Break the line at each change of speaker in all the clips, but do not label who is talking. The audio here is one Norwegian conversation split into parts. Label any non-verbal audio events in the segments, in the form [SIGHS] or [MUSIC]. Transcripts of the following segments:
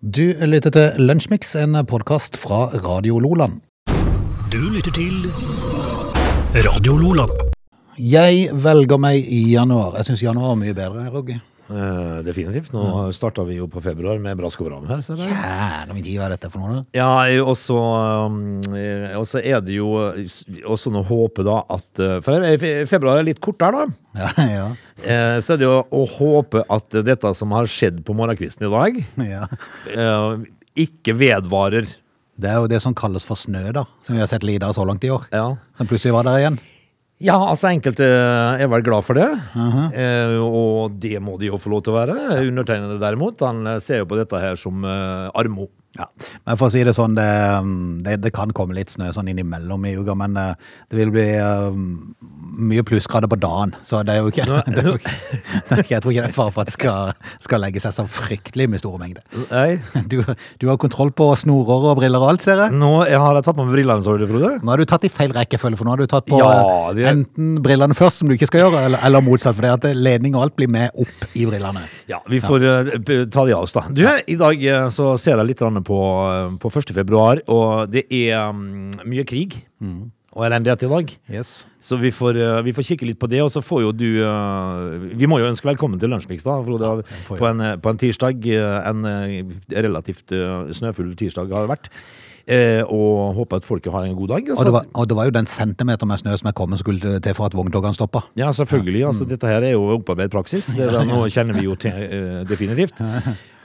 Du lytter til Lunsjmix, en podkast fra Radio Loland.
Du lytter til Radio Lola.
Jeg velger meg i januar. Jeg syns januar var mye bedre, Rogge.
Eh, definitivt. Nå starta vi jo på februar med brask og bram her. ser jeg.
Kjære min tid, hva er dette for noe? da?
Ja, og så um, eh, og så er det jo eh, s- også noe håpe, da, at eh, For eh, fe- februar er litt kort der, da.
[LAUGHS] Ja, ja,
Eh, Så er det jo å håpe at dette som har skjedd på morgenkvisten i dag,
ja.
eh, ikke vedvarer.
Det er jo det som kalles for snø, da. Som vi har sett lite av så langt i år.
Ja.
Som plutselig var der igjen.
Ja, altså enkelte er vel glad for det, Eh, og det må de jo få lov til å være. Undertegnede derimot, han eh, ser jo på dette her som eh, armo.
Ja, men for å si det sånn, det, um, det, det kan komme litt snø sånn innimellom i uka, men eh, det vil bli um, mye plussgrader på dagen, så det er jo ikke, [LAUGHS] det er jo ikke det er ikke- Jeg tror ikke det er fare for at det skal, skal legge seg så fryktelig med store mengder.
Nei.
Du, du har kontroll på snorer og briller og alt, ser jeg.
Nå jeg har jeg tatt på meg brillene, så du, Frode.
Nå har du tatt i feil rekkefølge, for nå har du tatt på
Ja,
eh,
det-
enten brillene først, som du ikke skal gjøre, eller, eller motsatt, for det at ledning og alt blir med opp i brillene.
Ja, vi får eh, p- ta de av oss, da. Du, i dag eh, så ser jeg litt grann på, eh, på 1. februar, og det er mm, mye krig
Mm.
og elendighet i dag.
Yes.
Så vi får, eh, vi får kikke litt på det, og så får jo du eh, Vi må jo ønske velkommen til Lunsjmix, da, Frode.
får
På en, eh, på en tirsdag. eh, En eh, relativt eh, snøfull tirsdag har det vært. Eh, og håper at folket har en god dag.
Og det,
så-
var, og det var jo den centimeter med snø som jeg kom og skulle til for at vogntogene stoppa.
Ja, selvfølgelig. Altså, Dette her er jo opparbeidet praksis. Det der, nå kjenner vi jo til eh, definitivt.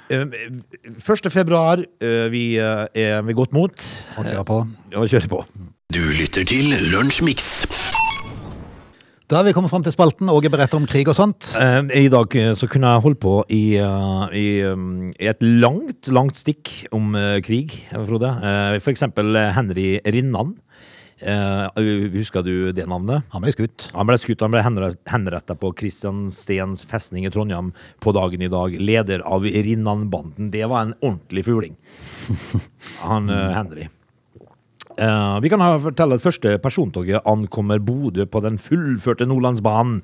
Um, 1. februar, eh, vi eh, er ved godt mot
Og kjøre på.
og kjører på.
Du lytter til Lunsjmix.
Da har vi kommet fram til spalten. Åge beretter om krig og sånt.
Eh, I dag eh, så kunne jeg holdt på i, eh, i, um, i et langt, langt stikk om eh, krig, eh, Frode. Eh, For eksempel eh, Henry Rinnan. Eh, Husker du det navnet?
Han ble skutt.
Han ble skutt, han ble henre- henrettet på Kristianstens festning i Trondheim på dagen i dag. Leder av Rinnan-banden. Det var en ordentlig fugling. Han eh, Henry. Eh, vi kan ha fortelle at første persontoget ankommer Bodø på den fullførte Nordlandsbanen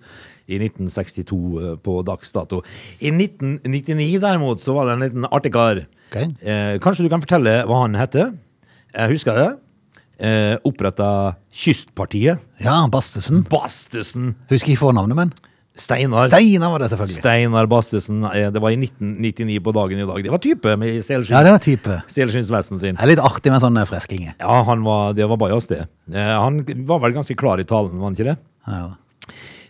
i 1962 eh, på dags dato. I 1999 derimot så var det en liten artig kar.
Ok.
Eh, kanskje du kan fortelle hva han heter? Jeg husker det. Uh, Oppretta Kystpartiet.
Ja, Bastesen.
Bastesen.
Husker ikke fornavnet, men
Steinar.
Steinar var det, selvfølgelig.
Steinar Bastesen. eh, Det var i 1999 på dagen i dag. Det var type med selskin-
Ja, det var type.
selskinnsvesten
Det
sin.
er litt artig med sånne freskinger.
Ja, han var, det var bajas, det. Eh, Han var vel ganske klar i talen, var han ikke det?
Ja.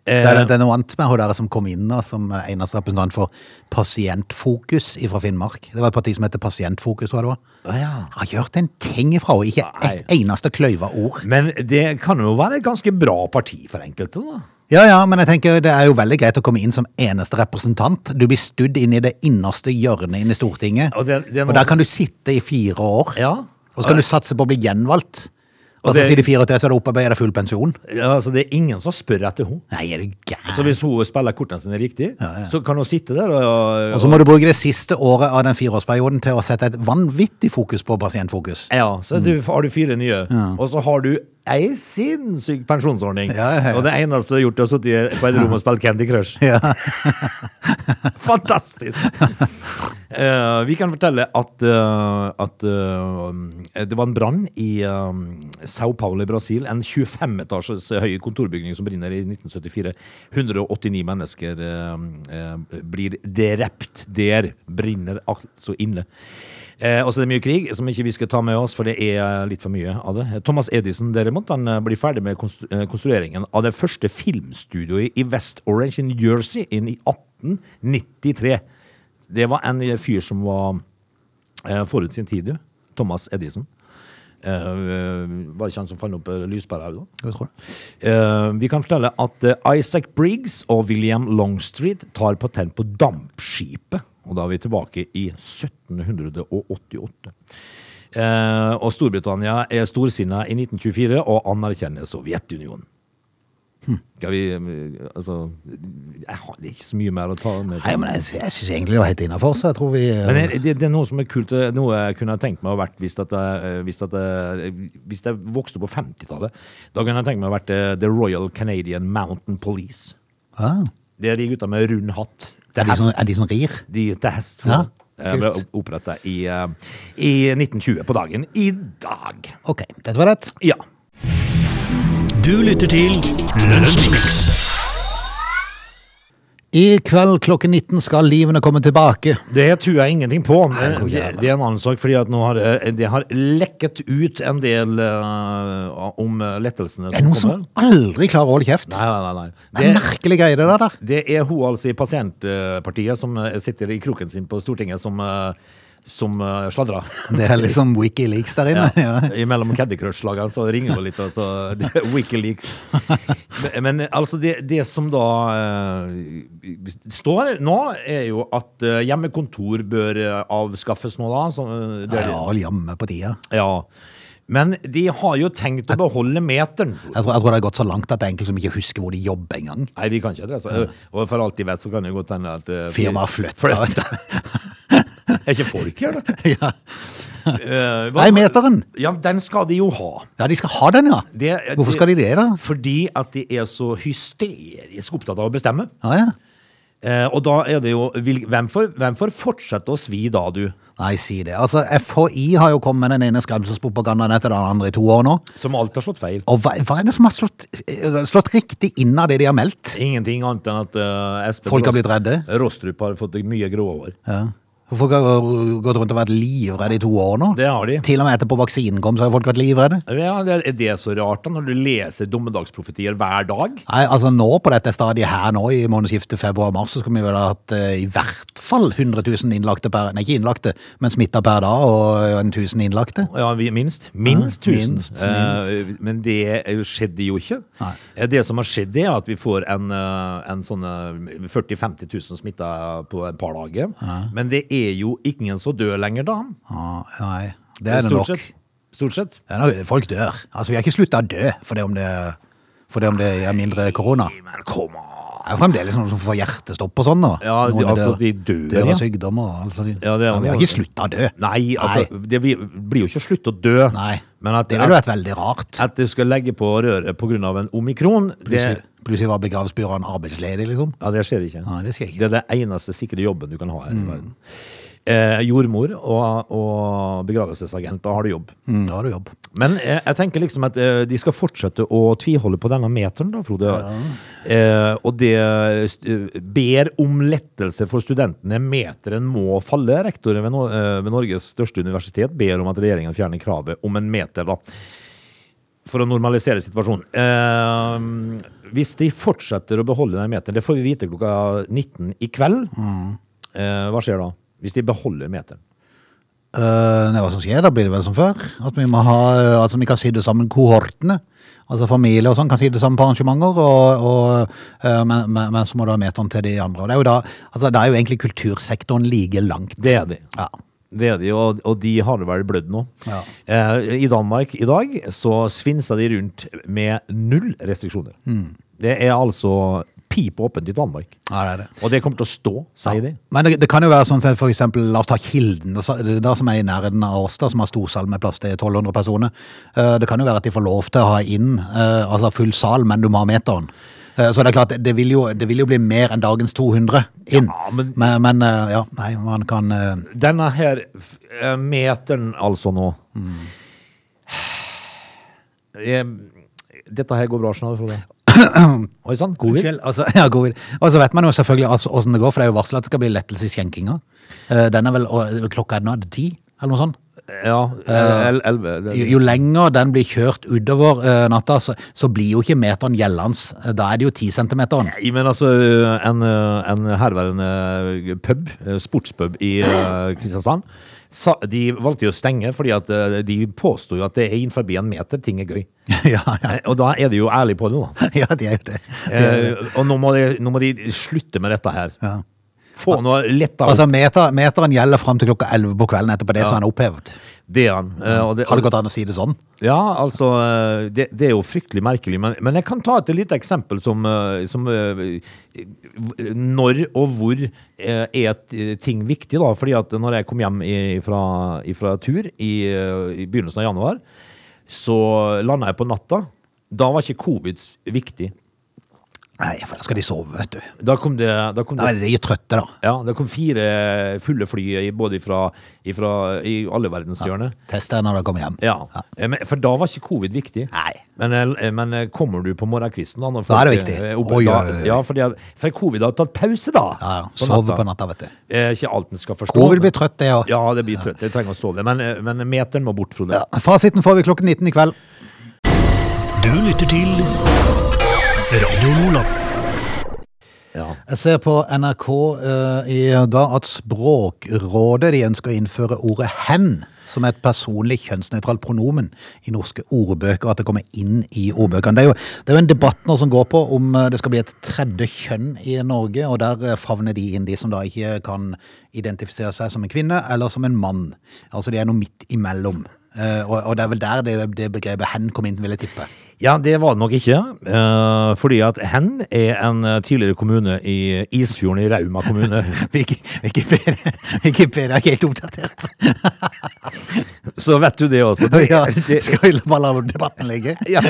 Eh,
Det er, det er noe annet med hun der som kom inn da, som eneste representant for Pasientfokus fra Finnmark. Det var et parti som heter Pasientfokus, tror jeg det var.
ah, ja.
Jeg har hørt en ting ifra henne, ikke
Nei.
et eneste kløyva ord.
Men det kan jo være et ganske bra parti for enkelte, da.
Ja, ja, men jeg tenker det er jo veldig greit å komme inn som eneste representant. Du blir studd inn i det innerste hjørnet inn i Stortinget,
Og
og,
det- det er noe
der kan
som-
du sitte i fire år,
Ja.
og så kan du satse på å bli gjenvalgt. Og,
Og
så
det-
sier de fire til, så er det opparbeidet full pensjon.
Ja, Altså, det er ingen som spør etter henne.
Nei, er du gæren?
Så hvis hun spiller kortene sine riktig,
Ja, ja.
så kan hun sitte der og,
Og så må du bruke det siste året av den fireårsperioden til å sette et vanvittig fokus på pasientfokus.
[LAUGHS] Ja, så du, har du fire nye, og så har du ei sinnssyk pensjonsordning.
Ja, ja, ja.
Og det eneste du har gjort, er å sitte i- på et rom og spille Candy Crush.
[LAUGHS] Ja.
Fantastisk! Eh, vi kan fortelle at, eh, at eh, det var en brann i eh, Sao Paulo i Brasil. En 25 etasjes høy kontorbygning som brinner i 1974. 189 mennesker eh, eh, blir drept der. Brinner altså inne. Eh, også det er mye krig som ikke vi skal ta med oss, for det er eh, litt for mye av det. Thomas Edison derimot, han eh, blir ferdig med konstru eh, konstrueringen av det første filmstudioet i West Orange i New Jersey inn i 1893. Det var en eh, fyr som var eh, forut sin tid, jo. Thomas Edison. Eh, var det ikke han som fant opp eh, lyspæra òg, da?
Hva tror du?
Eh, vi kan fortelle at eh, Isaac Briggs og William Longstreet tar patent på dampskipet. Og da er vi tilbake i 1788. Eh, og Storbritannia er storsinna i 1924 og anerkjenner Sovjetunionen.
Hm.
Skal vi eh, Altså Jeg har det er ikke så mye mer å ta med.
Nei, men jeg, jeg syns egentlig det var helt innafor, så jeg tror vi
Men er- det, det er noe som er kult, eh, noe jeg kunne tenkt meg å vært hvis, at jeg, eh, hvis, at jeg, hvis jeg vokste opp på 50-tallet. Da kunne jeg tenkt meg å vært eh, The Royal Canadian Mountain Police.
ah,
Det er de gutta med rund hatt.
er,
Til
de som,
hest.
er de som rir?
De til hest.
Ja.
Ja. eh, ble
Kult.
oppretta i, eh, i 1920 på dagen i dag.
Ok, dette var rett.
Ja.
Du lytter til Lunsjmix.
I kveld klokken 19 skal livene komme tilbake.
Det tror jeg ingenting på. men
jeg tror ikke
det,
heller.
det er en annen sak, fordi at nå har eh, det har lekket ut en del eh, om eh, lettelsene
Det er noen som aldri klarer å holde kjeft.
Nei, nei, nei. nei.
Det er en merkelig greie det der. der.
Det er hun altså i Pasientpartiet som eh, sitter i kroken sin på Stortinget som, eh, som eh, sladrer.
Det er liksom Wikileaks der
[LAUGHS] Ja.
inne. [LAUGHS] Ja.
[LAUGHS] Imellom Caddy Crush-lagene så ringer hun litt, og så [LAUGHS] Wikileaks. Men, men altså, det, det som da eh, står nå, er jo at eh, hjemmekontor bør eh, avskaffes nå, da. Så, eh,
Ja,
det,
ja, vel jamme på tida.
ja. Men de har jo tenkt å beholde meteren.
Jeg tror, jeg tror det har gått så langt at det er enkelte som ikke husker hvor de jobber engang.
Nei, de kan ikke det. Altså. Og for alt de vet, så kan det jo godt hende at eh,
Firmaet
[LAUGHS]
flytta.
Er ikke folk her, da?
[LAUGHS] ja.
Eh, hva-
Nei, meteren!
Ja, den skal de jo ha.
Ja, de skal ha den, ja!
Det-
Hvorfor skal de det, da?
Fordi at de er så hysterisk opptatt av å bestemme.
Ah, Ja, ja.
Eh, og da er det jo vil- Hvem får, hvem får fortsette å svi da, du?
Nei, si det. Altså, FHI har jo kommet med den ene skremselspropagandaen etter den andre i to år nå.
Som alt har slått feil.
Og hva, hva er det som har slått, eh, slått riktig inn av det de har meldt?
Ingenting annet enn at eh, Espen
Folk har
Rost-
blitt redde.
Rostrup har fått mye grå hår.
Ja. Folk har jo gått rundt og vært livredde i to år nå.
Det har de.
Til og med etterpå vaksinen kom, så har folk vært livredde.
Ja, det, Er det så rart, da, når du leser dommedagsprofetier hver dag?
Nei, altså nå på dette stadiet her nå, i månedsskiftet februar-mars, så skulle vi vel ha hatt eh, i hvert fall 100 000 innlagte per, nei ikke innlagte, men smitta per dag, og en 1000 innlagte.
Ja, vi- minst. Minst
Ja,
1000.
minst,
Eh, men det er jo- skjedde jo ikke.
Nei.
Eh, Det som har skjedd, det er at vi får en, eh, en sånn 40 000-50 000 smitta på et par dager. Men det er jo ingen som dør lenger, da.
Ja, Ah, nei, det er det nok.
Stort sett. Stort sett.
Det er nok. Folk dør. Altså, vi har ikke slutta å dø for det om det, for det, om det er mindre korona.
Nei, Men kom an!
Det er jo fremdeles noen som får hjertestopp og sånn. da.
Ja, de-
Noen
altså, de dør,
dør
ja.
av sykdommer. Altså, de,
Ja, det er
vi har
noe-
ikke slutta å dø.
Nei, altså, det blir- blir jo ikke slutt å dø.
Nei.
Men at,
Det ville
at,
vært veldig rart.
at du skal legge på røret pga. en omikron, det,
Plutselig, plutselig var begravelsesbyråene arbeidsledige, liksom.
ja, det skjer ikke.
Nei, det skjer ikke.
Det er den eneste sikre jobben du kan ha her i verden. Eh, jordmor og, og begravelsesagent, da har du jobb.
Mm, da har du jobb.
Men eh, jeg tenker liksom at eh, de skal fortsette å tviholde på denne meteren, da, Frode. Eh, og det st- eh, ber om lettelse for studentene. Meteren må falle. Rektoren ved, no eh, ved Norges største universitet ber om at regjeringen fjerner kravet om en meter, da. For å normalisere situasjonen. Eh, hvis de fortsetter å beholde den meteren, det får vi vite klokka 19 i kveld. Eh, hva skjer da? Hvis de beholder meteren?
Eh, nei, hva som skjer, da blir det vel som før. At vi, må ha, eh, altså, vi kan sitte sammen kohortene. Altså familie og sånn kan sitte sammen på arrangementer, og, og, eh, men, men, men så må du ha meteren til de andre. Og det er jo da, altså, det er jo egentlig kultursektoren like langt.
Det er de.
Ja.
Det er de, og, og de har det vel blødd nå.
Ja.
Eh, I Danmark i dag så svinser de rundt med null restriksjoner.
Mm.
Det er altså pip åpent i Danmark.
ja, det er det.
Og det kommer til å stå, sier de.
Men det, det kan jo være sånn som for eksempel, la oss ta Kilden, det sa- det der som er i nærheten av oss, da, som har storsal med plass til 1200 personer. Eh, Det kan jo være at de får lov til å ha inn, eh, altså full sal, men du må ha meteren. Eh, Så det er klart, det- det vil jo, det vil jo bli mer enn dagens 200 inn.
Ja, men-
men, men, eh, ja, nei, man kan eh,
Denne her f- eh, meteren altså nå
Mm.
[SIGHS] Eh, Dette her går bra, skjønner du, Frode.
[CLEARS THROAT]
Oi sann, covid.
Unnskyld, altså, [LAUGHS] ja, covid. Og så vet man jo selvfølgelig altså, hvordan det går, for det er jo varslet at det skal bli lettelse i skjenkinga. Eh, Den er vel, og klokka er nå, er det ti, eller noe sånt?
Ja, eh, el- elleve.
jo, jo lenger den blir kjørt utover eh, natta, så, så blir jo ikke meteren gjeldende. Eh, Da er det jo 10 centimeteren. [LAUGHS]
Nei, men altså, en, øh, en herværende pub, øh, sportspub i eh, Kristiansand, sa, de valgte jo å stenge, fordi at eh, de påstod jo at det er innenfor en meter, ting er gøy.
ja, ja,
Eh, Og da er de jo ærlige på det, da.
ja, det er jo det. [LAUGHS] det, er
Eh,
det.
og nå må, de, nå må de slutte med dette her.
Ja.
Få noe lettere
Altså, meter, meteren gjelder fram til klokka 11 på kvelden. Etterpå det så er den opphevet.
det er han. Eh, og det-
Har det gått an å si det sånn?
Ja, altså eh, Det, det er jo fryktelig merkelig, men, men jeg kan ta et lite eksempel som, eh, som eh, Når og hvor eh, er t- ting viktig, da? Fordi at når jeg kom hjem i- fra, fra tur i, eh, i begynnelsen av januar, så landa jeg på natta. Da var ikke covid viktig.
Nei, for da skal de sove, vet du.
Da kom det, da kom
Da
det
er de trøtte, da.
ja, det kom fire fulle fly i- både ifra, ifra, i alle verdenshjørner.
Test det når de kommer hjem.
Ja. Eh, men- For da var ikke covid viktig.
Nei.
Men, eh, men eh, kommer du på morgenkvisten da? Når
Da er det
folk,
viktig.
eh, opp-
Oi,
da-
oi, oi.
Ja, fordi, at- for covid har tatt pause da.
Ja, ja. Sove på
natta.
natta, vet du.
Eh, Ikke alt en skal forstå.
Hun vil bli trøtt, det òg.
Ja, det blir trøtt. Jeg trenger å sove. Men, eh, men meteren må bort, Frode.
Ja. Fasiten får vi klokken 19 i kveld.
Du lytter til Radio Nordland.
Ja.
Jeg ser på NRK eh, i dag at Språkrådet de ønsker å innføre ordet 'hen' som et personlig kjønnsnøytralt pronomen i norske ordbøker, at det kommer inn i ordbøkene. Det er jo, det er jo en debatt nå som går på om eh, det skal bli et tredje kjønn i Norge, og der eh, favner de inn de som da ikke kan identifisere seg som en kvinne eller som en mann. Altså de er noe midt imellom. Eh, og, og det er vel der det, det begrepet 'hen' kom inn, vil jeg tippe. [LAUGHS]
Ja, det var det nok ikke. eh, fordi at Hen er en eh, tidligere kommune i eh, Isfjorden i Rauma kommune. [LAUGHS]
Wiki- Wikipedia, Wikipedia er ikke helt oppdatert.
Så vet du det også. [LAUGHS] Det,
Ja,
det,
skal vi bare la debatten ligge?
ja,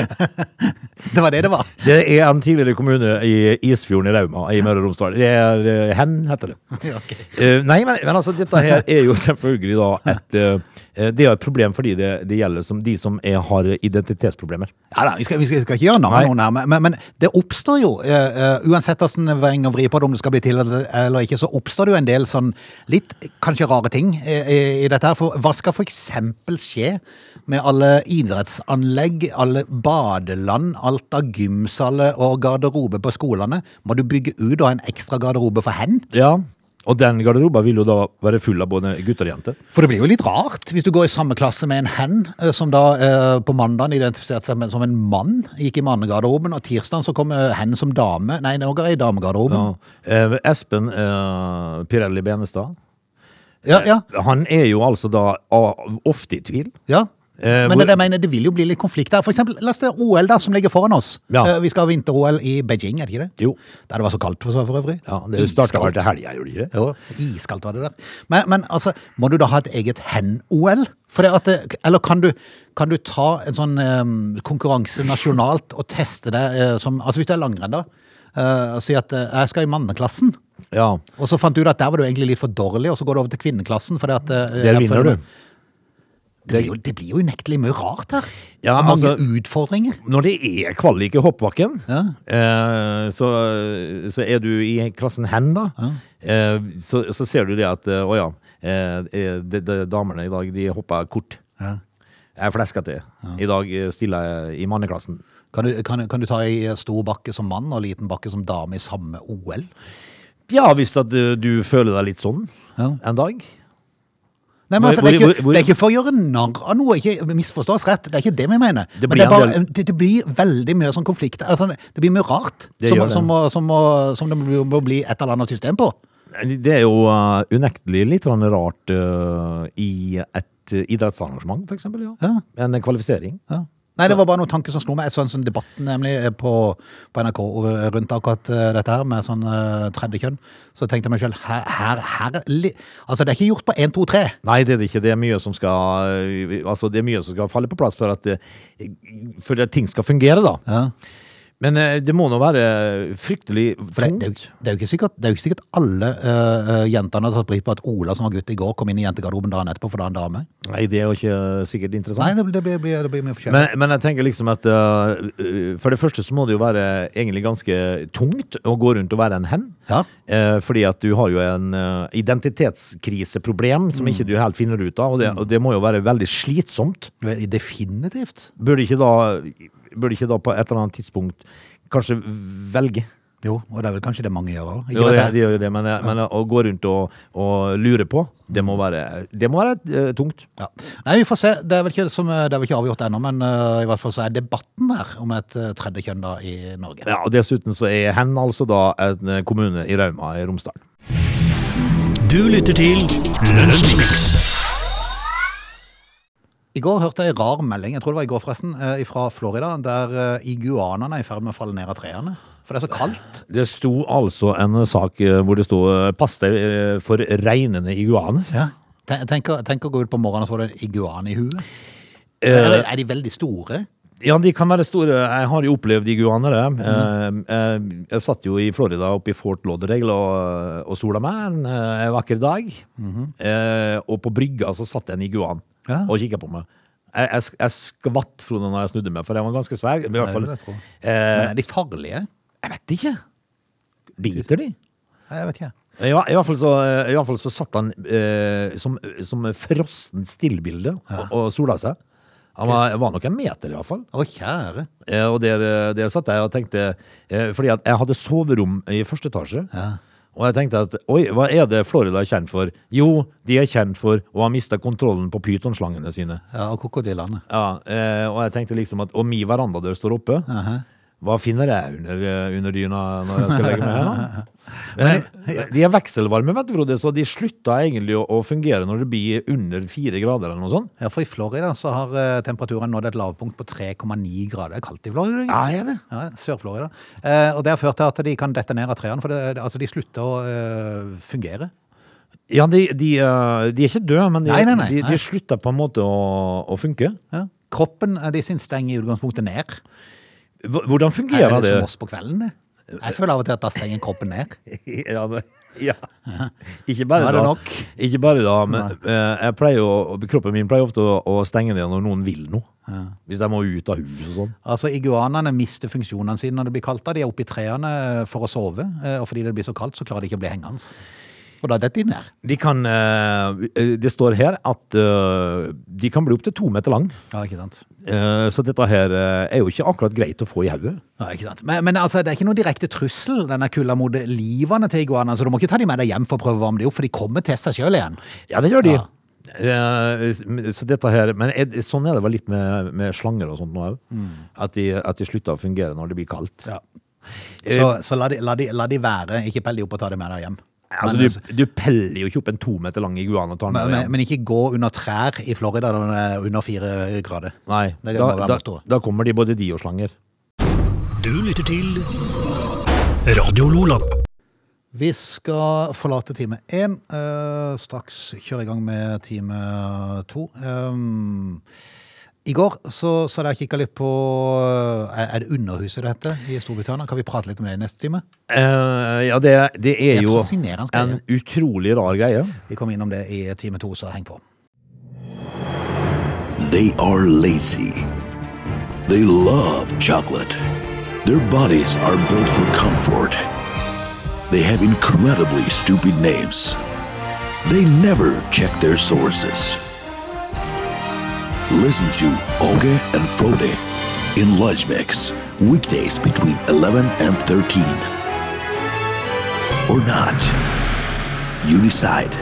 Det var det det var.
det er en tidligere kommune i Isfjorden i Rauma i Møre og Romsdal. Det er eh, Hen, [LAUGHS] heter det. Eh, nei, men, men altså, dette her er jo selvfølgelig da et eh, Det er et problem fordi det, det gjelder som de som er, har identitetsproblemer.
Ja da, vi skal, vi skal, skal ikke gjøre navn
Nei.
av noen her, men- men, men det oppstår jo, eh, eh, uansett hvordan vreng og vri på det, om det skal bli til eller eller ikke, så oppstår det jo en del sånn litt kanskje rare ting eh, i, i dette her. For hva skal for eksempel skje med alle idrettsanlegg, alle badeland, alt av gymsaler og garderobe på skolene? Må du bygge ut og ha en ekstra garderobe for hen?
Ja, og den garderoben vil jo da være full av både gutter og jenter.
For det blir jo litt rart hvis du går i samme klasse med en hen, eh, som da eh, på mandagen identifiserte seg med- som en mann, gikk i mannegarderoben, og tirsdagen så kom eh, hen som dame. Nei, nå går jeg i damegarderoben.
Ja. Eh, Espen eh, Pirelli Benestad.
Ja, ja,
Han er jo altså da ah, ofte i tvil.
ja.
Eh,
Men
hvor-
det, jeg mener, det vil jo bli litt konflikt der. For eksempel, la oss det OL da, som ligger foran oss.
Ja.
Eh, Vi skal ha vinter-Ol i Beijing, er det ikke det?
Jo.
Der det var så kaldt for, for øvrig.
Ja, det starta vel
Iskaldt.
til helga, gjorde det ikke det?
Jo, iskaldt var det der. Men, men altså, må du da ha et eget hen-OL? For det at det, eller kan du, kan du ta en sånn eh, konkurranse nasjonalt og teste det eh, som Altså hvis du er langrenn, da, eh, og si at eh, jeg skal i manneklassen.
Ja.
Og så fant du ut at der var du egentlig litt for dårlig, og så går du over til kvinneklassen. For det at, eh,
Der
jeg
vinner
føler-
du.
Det blir, jo, det blir jo unektelig mye rart her.
Ja,
Og mange
altså-
utfordringer.
Når det er kvalik i hoppbakken,
Ja.
eh, så, så er du i klassen hen, da. Eh, så, så ser du det at eh, Å ja, eh, de, de, damene i dag de hopper kort.
Ja.
Jeg er fleskete. I dag eh, stiller jeg i manneklassen.
Kan du, kan, kan du ta ei stor bakke som mann og liten bakke som dame i samme OL?
Ja, hvis at eh, du føler deg litt sånn
Ja.
en dag.
Nei, men
Hvor-
altså, det, er
hvor-
ikke,
hvor-
det er ikke for å gjøre narr av noe, ikke misforstå oss rett. Det er ikke det vi mener.
Det
men
blir
det, er bare,
en
det, det blir veldig mye sånn konflikt. Altså, det blir mye rart
Det
som,
gjør det.
Som, må, som, må, som det må må bli et eller annet system på.
Det er jo eh, unektelig litt grann rart eh, i et eh, idrettsarrangement, for eksempel. Ja.
Ja.
En kvalifisering.
Ja. Nei, det var bare noen tanker som slo meg. Jeg så en sånn debatt nemlig på, på NRK rundt akkurat eh, dette her, med sånn eh, tredje kjønn. Så tenkte jeg meg sjøl, her, her, her li- Altså, det er ikke gjort på én, to, tre.
Nei, det er det ikke. Det er mye som skal, eh, altså, det er mye som skal falle på plass for at, eh, for at ting skal fungere, da.
Ja.
Men eh, det må nå være fryktelig
For det, det, er
tungt.
jo- det er jo ikke sikkert, det er jo ikke sikkert alle eh, eh, jentene hadde satt pris på at Ola, som var gutt i går, kom inn i jentegarderoben dagen etterpå, for da er han dame.
Nei, det er jo ikke sikkert interessant.
Nei, det, det, blir, blir, det blir mye forskjellig.
Men, men jeg tenker liksom at øh, øh, For det første så må det jo være egentlig ganske tungt å gå rundt og være en hen.
Ja.
Eh, fordi at du har jo en øh, identitetskriseproblem som
Mm.
ikke du helt finner ut av, og det, og det må jo være veldig slitsomt.
Definitivt.
Bør du ikke da, bør du ikke da på et eller annet tidspunkt kanskje velge?
Jo, og det er vel kanskje det mange gjør òg.
Jo, det, de gjør jo det, men, men å gå rundt og, og lure på, det må være, det må være øh, tungt.
Ja. Nei, vi får se. Det er vel ikke, som, eh, det er vel ikke avgjort ennå, men eh, i hvert fall så er debatten der om et eh, tredje kjønn da i Norge.
Ja, og Dessuten så er hen altså da en eh, kommune i Rauma i Romsdal.
Du lytter til Lunsjmix.
I går hørte jeg en rar melding, jeg tror det var i går forresten, fra Florida, der eh, iguanene er i ferd med å falle ned av trærne. For det er så
[SIGHS]
kaldt.
Det sto altså en sak eh, hvor det sto eh, 'pass deg eh, for regnende iguaner'.
Ten- Tenk, å- tenk å gå ut på morgenen og få deg en iguan i huet.
Eh,
Eller er de veldig store?
Ja, de kan være store. Jeg har jo opplevd iguanere. Mm. Jeg, jeg satt jo i Florida oppe i Fort Lauderdale og, og sola meg en eh, vakker dag. Eh, og på brygga så satt det en iguan
Ja.
og kikka på meg. Jeg, jeg, sk- jeg skvatt Frode når jeg snudde meg, for jeg var ganske svær. I hvert fall.
det vil jeg tro.
Eh,
Men er de farlige?
jeg vet ikke. Biter de?
Nei, jeg vet ikke.
I, hva- i, hvert fall så, I hvert fall så satt han eh, som, som frossen stillbilde og, og sola seg. Han var, var nok en meter, i hvert fall.
Å, kjære.
Eh, Og der, der satt jeg og tenkte eh, Fordi at jeg hadde soverom i første etasje. Og jeg tenkte at oi, hva er det Florida er kjent for? Jo, de er kjent for å ha mista kontrollen på pytonslangene sine.
Ja, og krokodillene.
Ja, eh, Og jeg tenkte liksom at Og mi verandadør står oppe. Hva finner jeg under, eh, under dyna når jeg skal legge meg [LAUGHS] her, da? Men de er vekselvarme, vet du, Frode, så de slutta egentlig å, å fungere når det blir under fire grader eller noe sånt.
Ja, for i Florida så har eh, temperaturen nådd et lavpunkt på 3,9 grader. Det er kaldt i Florida. gitt.
er det?
Ja, Sør-Florida. Eh, og det har ført til at de kan detonere trærne, for det, det- altså, de slutter å eh, fungere.
Ja, de, de, eh, de er ikke døde, men de,
Nei, nei, nei,
de,
nei.
de slutta på en måte å, å funke.
Ja. Kroppen eh, de sin stenger i utgangspunktet ned.
Hv- Hvordan
Er
fungerer
det
det?
som oss på kvelden, det? Jeg føler av og til at da stenger kroppen ned.
[LAUGHS] Ja, det- ja. Ikke bare
Nå er
da.
det nok.
Ikke bare da, men eh, jeg pleier å, kroppen min pleier ofte å, å stenge ned når noen vil noe. Hvis de må ut av huset og sånn.
Altså, Iguanene mister funksjonene sine når det blir kaldt. da. De er oppe i trærne for å sove, eh, og fordi det blir så kaldt, så klarer de ikke å bli hengende. Og da detter de ned.
De kan, eh, det står her at eh, de kan bli opptil to meter lang.
Ja, ikke sant?
Eh, så dette her eh, er jo ikke akkurat greit å få i hodet.
Ja, ikke sant? Men, men altså, det er ikke noen direkte trussel, denne kulda mot livene til iguanene, så du må ikke ta dem med deg hjem for å prøve å varme dem opp, for de kommer til seg sjøl igjen.
Ja, det gjør de.
Ja.
Eh, s- men- så dette her, men er, det- sånn er det vel litt med, med slanger og sånt nå òg. At, de- at de slutter å fungere når det blir kaldt.
Så, så la, de, la, de, la de være, ikke pell de opp og ta dem med deg hjem.
Altså,
men,
du, du peller jo ikke opp en to meter lang iguan og tar
men,
den med
men,
igjen.
men ikke gå under trær i Florida når det er under fire grader.
Nei,
Det er det
da,
må være
da,
mottoet.
da kommer de både de og slanger.
Du lytter til Radio Lola.
Vi skal forlate time én. eh, straks kjøre i gang med time to. Ehm, I går så, så hadde jeg kikka litt på eh, Er er det Underhuset det heter i Storbritannia? Kan vi prate litt om det i neste time?
Eh, ja, det, det er
Det er
jo
fascinerende greie.
en utrolig rar greie.
Vi kommer innom det i time to, så heng på.
They are lazy. They love chocolate. Their bodies are built for comfort. They have incredibly stupid names. They never check their sources. Listen to Oge and Frode in Lunch Mix, weekdays between 11 and 13. Or not. You decide.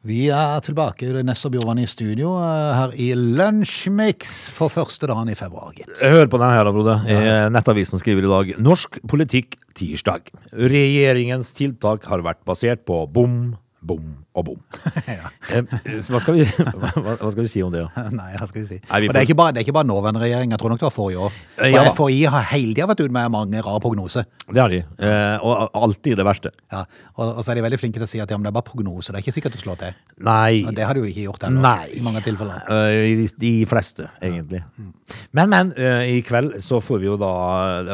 Vi er tilbake, det er Ness og Bjørvann i studio eh, her i Lunsjmix for første dagen i februar, gitt.
Hør på denne her, da, Frode. Eh, Nettavisen skriver i dag Norsk politikk tirsdag. Regjeringens tiltak har vært basert på bom, bom og bom.
[LAUGHS] Ja.
Eh, Hva skal vi, [LAUGHS] hva, hva skal vi si om det? da?
Nei, hva skal vi si.
Nei, vi
Og det
får-
er ikke bare, det er ikke bare nåværende regjering, jeg tror nok det var forrige år.
Eh,
For
ja da.
FHI har hele tida vært ute med mange rare prognoser.
Det har de. Eh, og alltid det verste.
Ja. Og, og så er de veldig flinke til å si at ja, men det er bare prognoser, det er ikke sikkert du slår til.
Nei.
Men det har de jo ikke gjort ennå,
Nei.
i mange tilfeller. Mm.
Eh, i de, de fleste, egentlig. Men, men. eh, I kveld så får vi jo da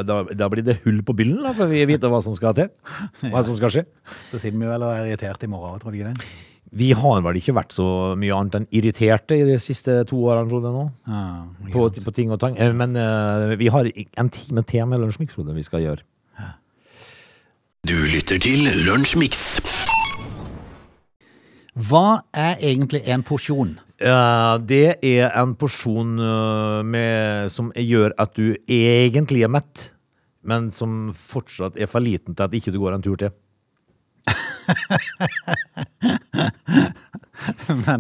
Da, da blir det hull på byllen, da, for vi vite hva som skal
[LAUGHS]
til. Hva som skal skje.
Så siden vi vel er irritert i morgen, tror du ikke det?
Vi har vel ikke vært så mye annet enn irriterte i de siste to årene, Frode, nå.
Ah, Ja,
På, på ting og tang. Eh, Men eh, vi har i- en time til med Lunsjmix, Frode, vi skal gjøre.
Du lytter til Lunsjmix.
Hva er egentlig en porsjon?
Eh, det er en porsjon eh, med, som gjør at du egentlig er mett, men som fortsatt er for liten til at ikke du går
[LAUGHS]
en tur til.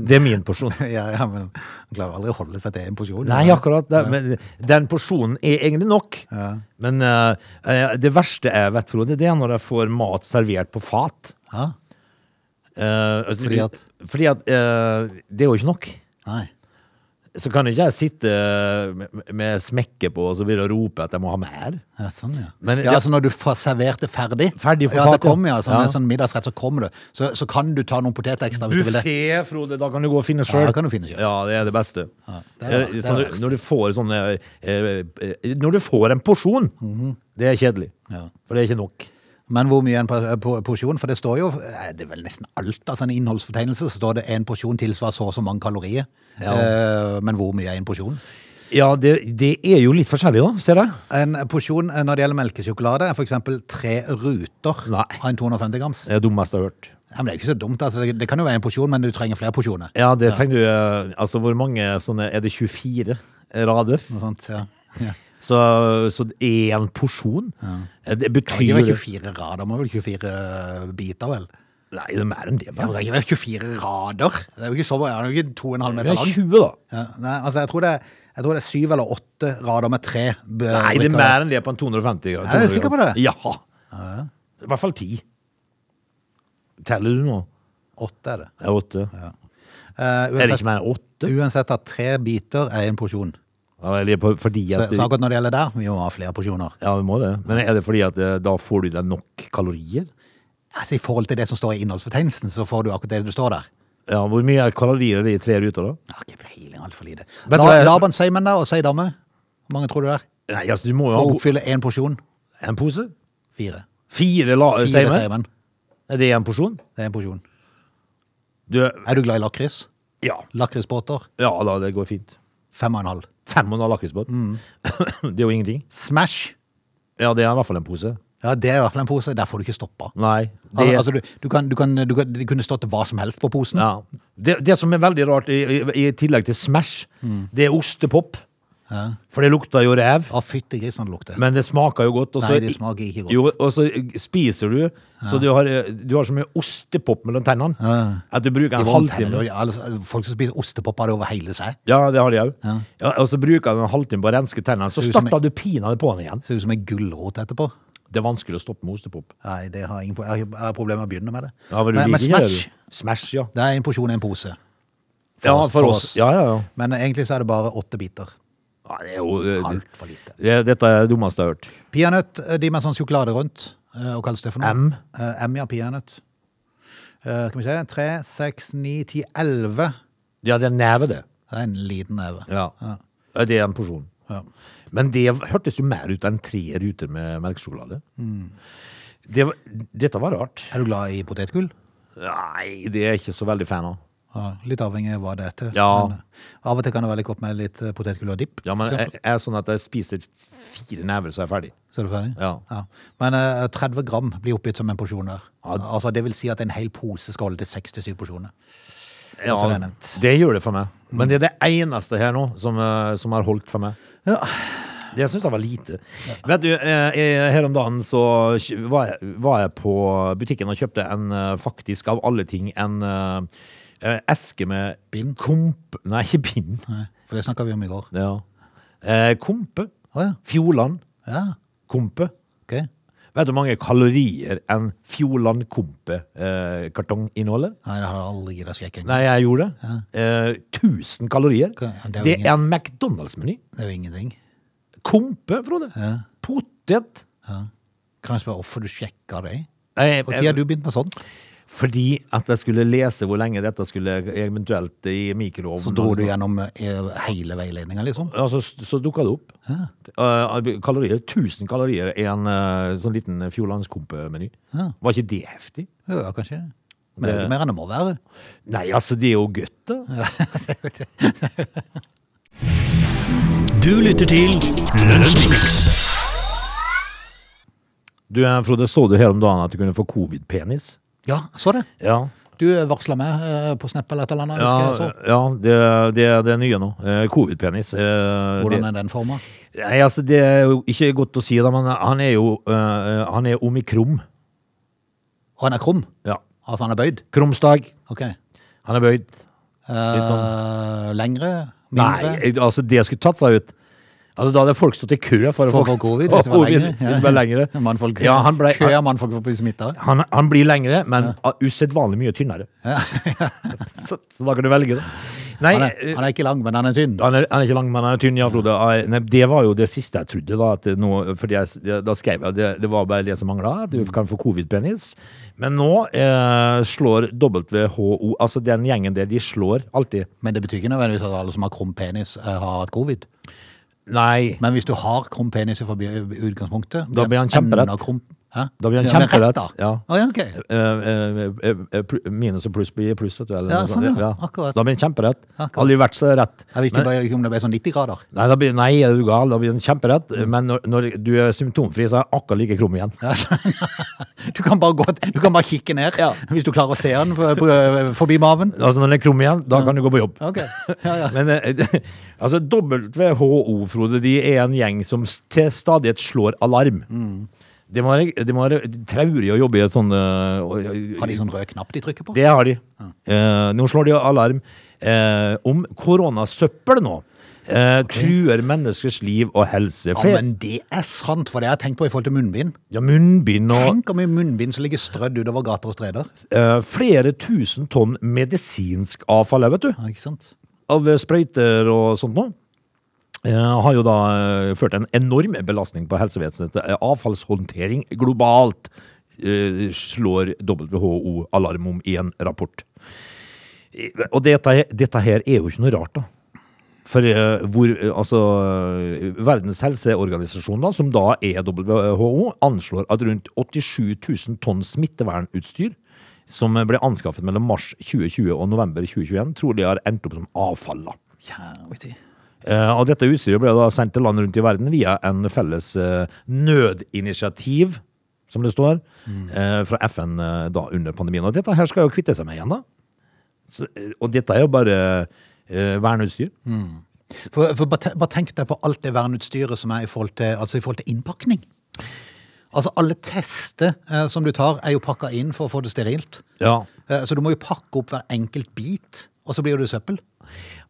det er min porsjon.
[LAUGHS] Ja, ja, men man klarer aldri å holde seg til en porsjon.
Nei, akkurat. Det, men, den porsjonen er egentlig nok. Men eh, eh, det verste jeg vet, Frode, det er når jeg får mat servert på fat.
Ja?
Eh, altså,
Fordi at?
Fordi at eh, det er jo ikke nok.
Nei.
så kan ikke jeg sitte med- med smekket på og så begynne å rope at jeg må ha mer.
Ja, sånn, ja.
Men-
ja,
ja.
altså Når du får servert det ferdig,
Ferdig på
ja, det
fatet.
kommer, ja, sånn,
Ja.
En sånn middagsrett, så kommer du. Så, så kan du ta noen poteter ekstra hvis du vil det.
Buffé, Frode, da kan du gå og finne
Ja,
sjøl.
da kan du finne selv.
Ja, det er det beste.
det er det-
Eh,
det er
sånn
det
du-
beste.
når du får sånne eh, eh, Når du får en porsjon, det er kjedelig.
Ja.
For det er ikke nok.
Men hvor mye er en pa- po- porsjon? For det står jo eh, Det er vel nesten alt. altså En innholdsfortegnelse så står det en porsjon tilsvarer så og så mange kalorier.
Ja.
Eh, men hvor mye er en porsjon?
Ja, det, det er jo litt forskjellig, da. Ser jeg.
En porsjon eh, når det gjelder melkesjokolade, er f.eks. tre ruter
Nei.
av en 250 grams.
Det er det dummeste jeg har hørt.
Ja, men det er ikke så dumt. altså Det, det kan jo være en porsjon, men du trenger flere porsjoner.
Ja, det tenker du eh, Altså, hvor mange sånne Er det 24 rader?
Noe sånt, ja. Ja.
Så, så én porsjon? Eh, Det
Det
betyr
kan ikke være
jo
24 rader, må vel 24 biter, vel?
Nei, det er mer enn det,
Ja, men
vel.
det kan ikke være 24 rader. Det er jo ikke så mange, det er jo ikke 2,5
Det
meter
er
lang.
20, da.
Ja, nei, altså jeg tror, det, jeg tror det er syv eller åtte rader med tre. b-
Nei, det er
brikker.
mer enn det på en 250 grad.
Er du sikker på det?
Ja. I hvert fall ti. Teller du nå?
Åtte er det.
Det er åtte.
Eh,
Er det
uansett,
ikke mer enn åtte?
uansett at tre biter er en porsjon.
Ja, eller er det på- fordi
Så,
at
så akkurat når det gjelder der, vi må ha flere porsjoner.
Ja, vi må det. Men er det fordi at eh, da får du deg nok kalorier?
Altså I forhold til det som står i innholdsfortegnelsen, så får du akkurat det du står der.
Ja, Hvor mye er kalorier er det i tre ruter, da?
Jeg har ikke peiling, altfor lite.
Vet du hva
La,
jeg-
Laban Seimen da, og Seidame. Hvor mange tror du det er?
Nei, altså, du må
For
jo ha
å
en po-
oppfylle én porsjon?
en pose.
Fire.
Fire la-
Fire
seimer?
Seimen.
Er det en porsjon?
Det er en porsjon.
Du, eh,
Er du glad i lakris?
ja.
Lakrisbåter?
ja da, det går fint.
Fem og en halv.
Fem og en halv lakrisbåt.
Mm.
[COUGHS] det er jo ingenting.
Smash!
Ja, det er i hvert fall en pose.
Ja, Det er i hvert fall en pose. Der får du ikke stoppa.
Nei.
Al-
Det,
Altså, du, du kan, du kan, du kan, det kunne stått hva som helst på posen.
ja. det, det som er veldig rart, i, i, i tillegg til Smash,
Mm.
det er ostepop. For det lukter jo ræv,
Å, fytti grisen, det lukter.
men det smaker jo godt. og så-
Nei, det smaker ikke godt.
Jo, og så spiser du, så du har, du har så mye ostepop mellom tennene at du bruker
I
en
vondt hender,
halvtime.
og- altså, folk som spiser ostepop, har det over hele seg.
Ja, det har de òg. Ja, og så bruker du en halvtime på å renske tennene, så
Ser ut som
stapper du pinadø på den igjen.
Ser ut som en gulrot etterpå.
Det er vanskelig å stoppe med ostepop.
Nei, det har jeg ingen, pro- jeg har jeg har problemer med å begynne med det.
Ja, men du
men, men
liker ikke det,
Smash,
du. Smash, ja.
det er en porsjon i en pose.
For ja,
oss-
for,
for
oss.
oss.
Ja, ja, ja.
Men egentlig så er det bare åtte biter.
ja det er jo, eh,
Altfor lite.
det, dette er det dummeste jeg har hørt.
Peanøtt, eh, de med sånn sjokolade rundt. eh, Hva kalles det for noe?
M.
Eh, M, ja. Peanøtt. Eh, Skal vi se. Tre, seks, ni, ti, elleve.
Ja, det er neve, det.
Det er en liten neve.
Ja. Ja, Det er en porsjon.
Ja.
Men det hørtes jo mer ut enn tre ruter med melkesjokolade. Det var- dette var rart.
Er du glad i potetgull?
Nei, det er jeg ikke så veldig fan av.
Ja, litt avhengig av hva det er til.
Ja.
Men, eh, av og til kan det være litt godt med litt eh, potetgull og dipp.
Ja, men
for
jeg,
eksempel.
jeg er sånn at jeg spiser fire never, så er jeg ferdig.
Så er du ferdig?
Ja.
Men eh, 30 gram blir oppgitt som en porsjon der.
Ja.
Altså, det vil si at en hel pose skal holde til 67 porsjoner.
Ja,
så det er nevnt.
det gjør det for meg. Men det er det eneste her nå som, eh, som har holdt for meg.
Ja.
Det jeg syns jeg var lite. Vet du, eh, jeg- Her om dagen så kj- var jeg, var jeg på butikken og kjøpte en eh, faktisk, av alle ting, en eh, eh, eske med
Bind?
Komp... Nei, ikke bind.
Nei, For det snakka vi om i går.
Ja. Eh, kompe.
Å ja.
Fjordland.
Ja,
Kompe.
ok.
Vet du hvor mange kalorier en Fjordland Kompe-kartong inneholder?
Nei, det har jeg aldri giddet å sjekke engang.
Nei, jeg gjorde det. Eh, 1000 kalorier.
Hva- det er jo
Det
ingen-
er en McDonald's-meny.
Det er jo ingenting.
Kompe, Frode. Potet.
Kan jeg spørre hvorfor du sjekka det?
Nei,
Når har du begynt med sånt?
Fordi at jeg skulle lese hvor lenge dette skulle eventuelt i mikroovnen.
Så dro du gjennom eh, hele veiledninga, liksom?
Ja, så, så dukka det opp. Eh, kalorier, 1000 kalorier i en eh, sånn liten Fjordlandskompe-meny. Var ikke det heftig?
Ja, ja, kanskje. Men det er jo ikke mer enn det må være.
Nei, altså, det er jo godt, da.
Du lytter til Lunsjmix.
Du, eh, Frode, så du her om dagen at du kunne få covid-penis?
[LAUGHS] Ja, så det.
Ja.
Du varsla meg eh, på Snap eller et eller annet. husker jeg sånn.
Ja,
så.
ja det, det, det er nye nå. Eh, Covid-penis. Eh,
Hvordan
det-
er den forma?
Nei, altså, det er jo ikke godt å si, da, men han er jo eh, han er omikrom.
Og han er krum?
Ja.
Altså han er bøyd?
Krumstag.
Ok.
Han er bøyd.
Eh, lengre? Mindre?
Nei, altså, det skulle tatt seg ut. Altså, da hadde folk stått i kø for,
For å få
[LAUGHS]
covid, hvis det var lengre.
Hvis det var lengre.
Mannfolk,
Ja, han, ble,
kø
han,
av mannfolk for å bli smitta.
han,
[LAUGHS]
[LAUGHS] han blir lengre, men ja. usedvanlig mye tynnere. så, så da kan du velge, da. Nei,
han, er,
eh,
han er ikke lang, men han er tynn.
Han er, han er ikke lang, men han er tynn, ja, Frode. Nei, Nei, det var jo det siste jeg trodde, da. At det nå- fordi jeg, s- da skrev jeg det, det var bare det som mangla. at Du
Mm.
kan få covid-penis. Men nå eh, slår WHO Altså den gjengen der, de slår alltid.
Men det betyr ikke nødvendigvis at alle som har krum penis, eh, har hatt covid.
Nei.
Men hvis du har krum penis i forbi- i utgangspunktet
Da blir han kjemperett.
enda krum- Hæ?
Da blir han
Ja, men
kjemperett,
rett da.
ja.
Å, ja, ok.
Eh, eh, eh, eh, pl- minus og pluss blir pluss, vet du. Eller
Ja,
noe sånt.
sånn, ja. Akkurat.
Da blir det kjemperett.
Akkurat.
Aldri vært så rett.
Jeg visste bare ikke om det ble sånn 90 grader. [LAUGHS]
Nei, da blir, nei, er du gal? Da blir den kjemperett.
Mm.
Men når, når du er symptomfri, så er jeg akkurat like krum igjen.
Du kan bare, gå, du kan bare kikke ned,
Ja.
hvis du klarer å se den på- på- forbi maven.
Altså Når den er krum igjen, da kan du gå på jobb.
Ok, ja, ja.
[LAUGHS] Men eh, altså, WHO, Frode, de er en gjeng som s- til stadighet slår alarm.
Mm.
Det må være, det må være traurig å jobbe i et sånt eh, og-
Har de sånn rød knapp de trykker på?
Det har de. Eh, nå slår de alarm eh, om koronasøppel nå. Eh, Truer menneskers liv og helse.
Ja,
Flere-
men det er sant, for det har jeg tenkt på i forhold til munnbind.
ja, munnbind og
Tenk om i munnbind som ligger strødd utover gater og streder.
eh, flere tusen tonn medisinsk avfall, vet du.
Ja, ikke sant?
av sprøyter og sånt nå, eh, har jo da eh, ført en enorm belastning på helsevesenet. Eh, Avfallshåndtering globalt eh, slår WHO alarm om i en rapport. Eh, Og dette, he- dette her er jo ikke noe rart, da. For eh, hvor, eh, altså, eh, Verdens helseorganisasjon, da, som da er WHO, anslår at rundt 87 000 tonn smittevernutstyr som ble anskaffet mellom mars 2020 og november 2021, trolig har endt opp som avfall. da.
Kjære tid.
Eh, og dette utstyret ble da sendt til land rundt i verden via en felles eh, nødinitiativ, som det står, eh, fra FN eh, da under pandemien. Og dette her skal jo kvitte seg med igjen, da. Så, eh, og dette er jo bare eh, verneutstyr.
For, for bare te- bare tenk deg på alt det verneutstyret som er i forhold til, altså i forhold til innpakning. Altså alle tester eh, som du tar er jo pakka inn for å få det sterilt.
Ja.
Eh, så du må jo pakke opp hver enkelt bit, og så blir det søppel.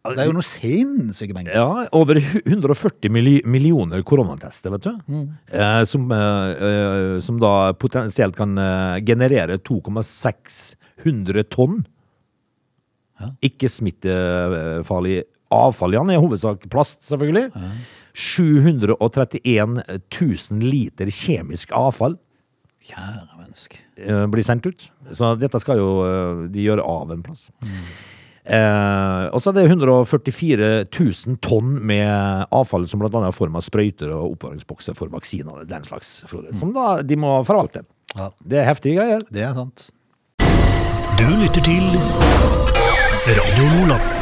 Det er jo noe sinnssyke mengder.
ja. Over hu- 140 milli- millioner koronatester, vet du. Eh, som, eh, eh, som da potensielt kan eh, generere 2,600 tonn ikke-smittefarlig avfall. Jan, i hovedsak plast, selvfølgelig. 731 000 liter kjemisk avfall
Kjære menneske.
eh, blir sendt ut. Så dette skal jo eh, de gjøre av en plass. Eh, og så er det 144 000 tonn med avfall som bl.a. er form av sprøyter og oppbevaringsbokser for vaksiner og den slags, Frode, som da de må forvalte.
Ja.
Det er heftige greier.
Det er sant.
Du lytter til Radio Nordland.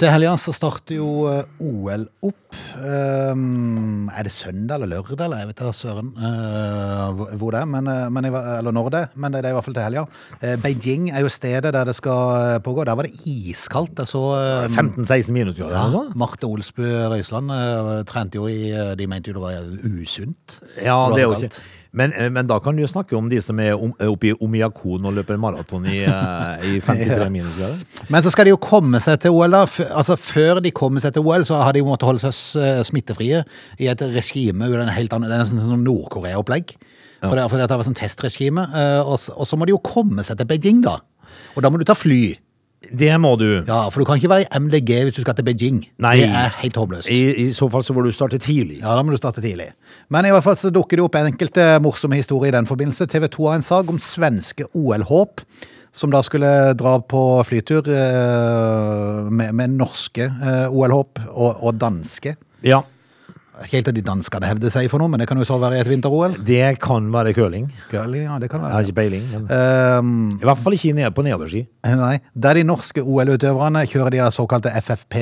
Til helga så starter jo eh, OL opp. Ehm, er det søndag eller lørdag, eller jeg vet da søren eh, hvor- hvor det er, men, eh, men, i hva- eller når det er, men det er i hvert fall til helga. Eh, Beijing er jo stedet der det skal eh, pågå. Der var det iskaldt. Jeg så eh,
15-16 minusgrader. altså.
Marte Olsbu Røiseland eh, trente jo i eh, De mente jo det var usunt.
Ja,
For
det er
var
jo
kaldt.
ikke men, eh, men da kan du jo snakke om de som er om- eh, oppe i Omiakon og løper maraton
[LAUGHS]
i, eh, i 53 minusgrader.
Men så skal de jo komme seg til OL, da. F altså, før de kommer seg til OL, så har de jo måttet holde seg s- eh, smittefrie i et regime uten en helt annen, det er nesten sånn Nord-Korea-opplegg. For, det, for dette var sånn testregime. eh, Og, s- og så må de jo komme seg til Beijing, da. Og da må du ta fly.
Det må du.
Ja, For du kan ikke være i MDG hvis du skal til Beijing.
Nei.
Det er helt håpløst.
I, I så fall så får du starte tidlig.
Ja, da må du starte tidlig. Men i hvert fall så dukker det opp enkelte morsomme historier i den forbindelse. TV 2 har en sak om svenske OL-håp, som da skulle dra på flytur eh, med, med norske eh, OL-håp og, og danske.
Ja,
Ikke helt at de danskene hevder seg for noe, men det kan jo så være i et vinter-OL.
det kan være curling.
Ja, det kan
Jeg har
være.
ikke peiling. Men.
Um,
I hvert fall ikke ned på nedoverski.
Nei. Der de norske OL-utøverne kjører de her såkalte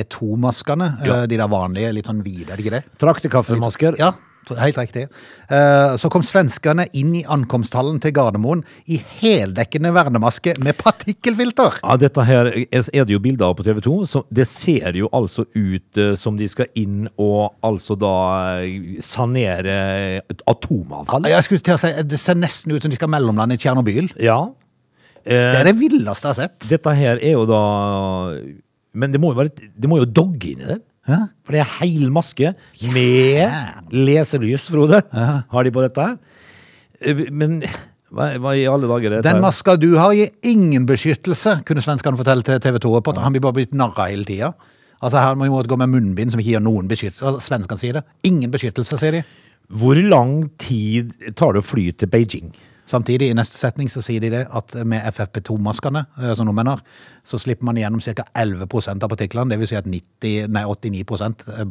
FFP2-maskene.
Ja.
eh, De der vanlige, litt sånn hvite, er det ikke det?
Traktekaffemasker.
Ja, helt riktig. Eh, Så kom svenskene inn i ankomsthallen til Gardermoen i heldekkende vernemaske med partikkelfilter.
Ja, dette her er er det jo bilder av på TV 2. Så det ser jo altså ut eh, som de skal inn og altså da eh, sanere et atomavfall.
Jeg skulle til å si, Det ser nesten ut som de skal mellomlande i Tsjernobyl.
Ja. Eh,
Det er det villeste jeg har sett.
Dette her er jo da Men det må jo, være, det må jo dogge inni der.
Hæ?
For det er heil maske med leselys, Frode, har de på dette her. Eh, Men Hva, hva i alle dager er dette?
Den
her?
maska du har, gir ingen beskyttelse, kunne svenskene fortelle til TV 2. På. at Han blir bare blitt narra hele tida. Altså, her må vi måtte gå med munnbind som ikke gir noen beskyttelse. Altså, svenskene sier det. Ingen beskyttelse, sier de.
Hvor lang tid tar det å fly til Beijing?
Samtidig, i neste setning, så sier de det at med FFP2-maskene, eh, som nordmenn har, så slipper man igjennom ca. 11 av partiklene. Det vil si at 90, nei, 89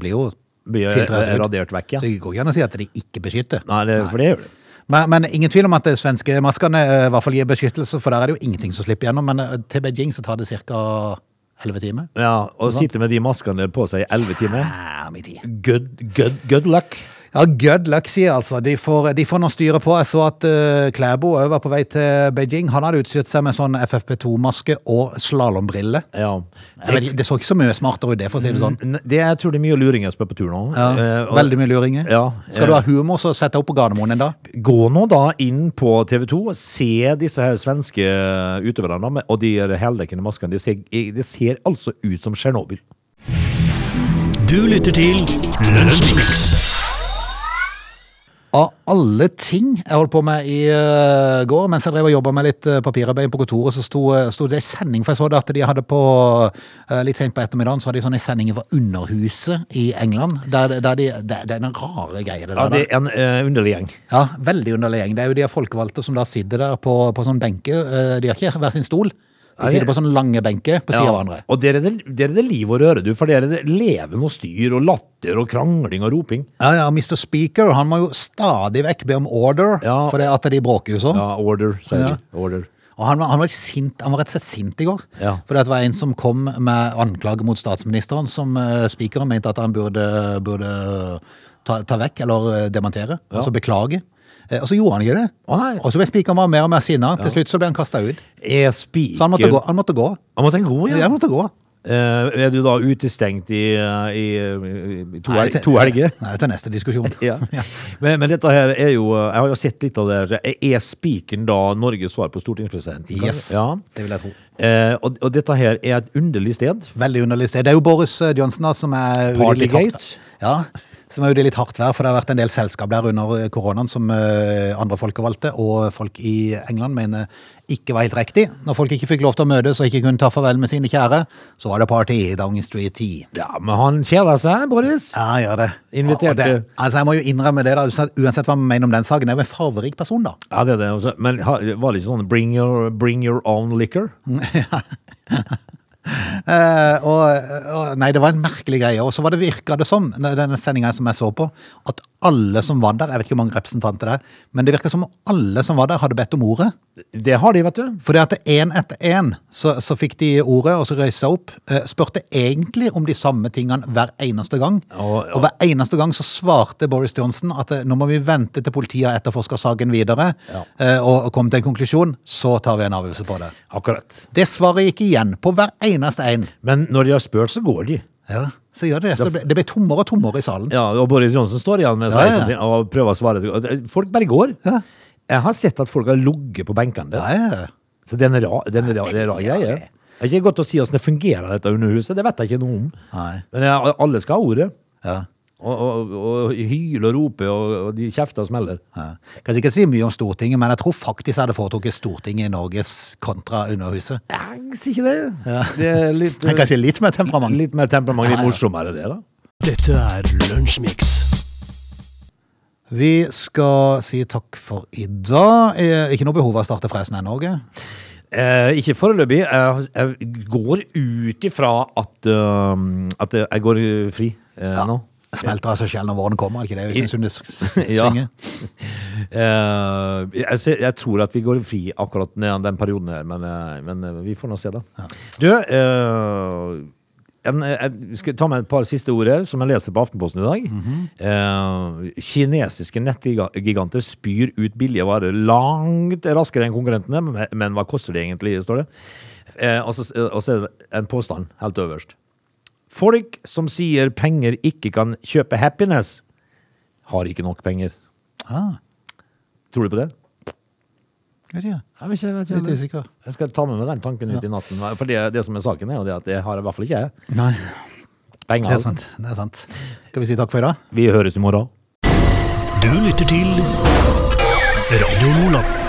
blir jo
Blir, eh,
filtrert ut.
radert vekk, ja.
Så jeg går ikke an å si at de ikke beskytter.
Nei, det, for det gjør det.
Men, men ingen tvil om at de svenske maskene eh, i hvert fall gir beskyttelse, for der er det jo ingenting som slipper gjennom. Men eh, til Beijing så tar det ca. 11 timer.
Ja, Å sitte med de maskene på seg i elleve timer
Ja, min tid.
good, good, good luck.
Ja, good luck, sier jeg, altså. De får, de får noe styre på. Jeg så at eh, Klæbo også var på vei til Beijing. Han hadde utstyrt seg med sånn FFP2-maske og slalåmbriller.
Ja.
Det så ikke så mye smartere ut, det, for å si det sånn.
N- Det jeg tror det er mye luringer som er på tur nå.
Ja,
Mm. Eh, og-
veldig mye luringer.
Ja, eh.
Skal du ha humor, så sett deg opp på Gardermoen en dag.
Gå nå da inn på TV 2 og se disse her svenske eh, utøverne med- og de her heldekkende maskene. De ser, de ser altså ut som Tsjernobyl.
Du lytter til Lunsjmix.
Av alle ting jeg holdt på med i eh, går, mens jeg drev og jobba med litt eh, papirarbeid på kontoret, så sto, eh, sto det ei sending, for jeg så det at de hadde på eh, Litt sent på ettermiddagen så hadde de sånne sendinger fra Underhuset i England. Der, der de, det, det er noen rare greier, det
Ja,
der.
det er en eh, underlig gjeng.
Ja, veldig underlig gjeng. Det er jo de folkevalgte som da sitter der på, på sånn benke. Eh, De har ikke hver sin stol.
Nei,
De sitter på sånne lange benker på siden av hverandre.
Og der er, det, der er det liv og røre, du. For der er det leven og styr og latter og krangling og roping.
Ja, ja, Mr. Speaker han må jo stadig vekk be om order,
Ja.
for det at de bråker jo sånn.
Ja, order, sier
Ja.
de. Order.
Og han var, han, var sint, han var rett og slett sint i går.
Ja.
For det var en som kom med anklage mot statsministeren, som eh, speakeren mente at han burde, burde ta, ta vekk eller eh, dementere. Altså beklage. Eh, Og så gjorde han ikke det.
Å, nei.
og så ble speakeren bare mer og mer sinna. Til slutt så ble han kasta ut.
Er speaker
Så han måtte gå. Han måtte gå.
Han måtte gå, ja.
Han måtte gå.
Eh, er du da utestengt i, eh, i, eh, i to,
Nei,
hel
til-
to
[LAUGHS]
helger?
Nei, til neste diskusjon.
Ja.
[LAUGHS]
Men, men dette her er jo eh, Jeg har jo sett litt av det. her. Er spikeren da Norges svar på stortingspresidenten? Kan-
Yes,
Ja.
det vil jeg tro.
Eh, og, og dette her er et underlig sted.
Veldig underlig sted. Det er jo Boris eh, Johnson da, som er ute i litt
Partygate?
hardt Ja, som er ute i litt hardt vær, for det har vært en del selskap der under eh, koronaen som eh, andre folkevalgte og folk i England mener ikke var helt riktig. Når folk ikke fikk lov til å møtes og ikke kunne ta farvel med sine kjære, så var det party i Downing Street 10.
Ja, men han kjeder seg, Boris.
Ja, gjør det.
Inviterte.
Og det- Altså, jeg må jo innrømme det, da. Uansett hva man mener om den saken, jeg er jo en farverik person, da.
Ja, det er det. også. Men ha- var det ikke sånn bring your, bring your own liquor?
Eh, og, og, nei, det var en merkelig greie. Og så var det virka det som, denne sendinga som jeg så på, at alle som var der, jeg vet ikke hvor mange representanter det er, men det virka som om alle som var der, hadde bedt om ordet.
Det har de, vet du.
For det at én etter én så, så fikk de ordet, og så røyste seg opp. eh, Spurte egentlig om de samme tingene hver eneste gang.
Ja, ja.
Og hver eneste gang så svarte Boris Johnson at eh, nå må vi vente til politiet har etterforska saken videre,
Ja.
eh, og, og komme til en konklusjon. Så tar vi en avgjørelse på det.
Akkurat.
Det svaret gikk igjen på hver eneste en.
Men når de har spurt, så går de.
Ja, så gjør det det. Så det ble, det ble tommere og tommere i salen.
Ja, og Boris Johnsen står igjen med
Ja, ja.
sveisen sin og prøver å svare. Folk bare går.
Ja.
Jeg har sett at folk har ligget på benkene der.
Ja, ja.
Så det er en rar, det er en rar, det er en rar
Ja,
greie.
det.
Det er ikke godt å si hvordan det fungerer, dette underhuset. Det vet jeg ikke noe om.
Nei.
Men ja, alle skal ha ordet.
ja,
Og, og, og hyle og rope, og, og de kjefter og smeller.
ja. Kan ikke si mye om Stortinget, men jeg tror faktisk jeg hadde foretrukket Stortinget i Norges kontra Underhuset.
Jeg sier ikke det. Det er
[LAUGHS]
litt,
Men kanskje litt mer temperament.
litt mer temperament, litt morsommere det, da.
Dette er Lunsjmix.
Vi skal si takk for i dag. Eh, Ikke noe behov av å starte fresen ennå, Åge.
Eh, ikke foreløpig. Jeg, jeg går ut ifra at, eh, at jeg går eh, fri eh, nå.
Smelter av seg selv når våren kommer, er det ikke det Øystein Sunde s- s-
[LAUGHS] Ja.
synger?
Eh, jeg, ser, jeg tror at vi går fri akkurat ned den perioden her, men, eh, men eh, vi får nå se, da. Du, eh, en, eh, jeg skal ta med et par siste ord her, som jeg leser på Aftenposten i dag. Eh, kinesiske nettgiganter spyr ut billige varer langt raskere enn konkurrentene, men, men hva koster det egentlig, står det. Eh, og, så, og så er det en påstand helt øverst. Folk som sier penger ikke kan kjøpe happiness, har ikke nok penger.
Ah,
Tror du på det?
vet ikke.
Jeg, vet ikke, jeg, vet
Litt
ikke.
usikker.
jeg skal ta med meg den tanken ut i natten. For det, det som er saken, er jo det at det har i hvert fall ikke jeg.
Nei,
Penger.
det er
altså.
sant. Det er sant. Skal vi si takk for i dag?
Vi høres i morgen.
Du lytter til Radio Nordland.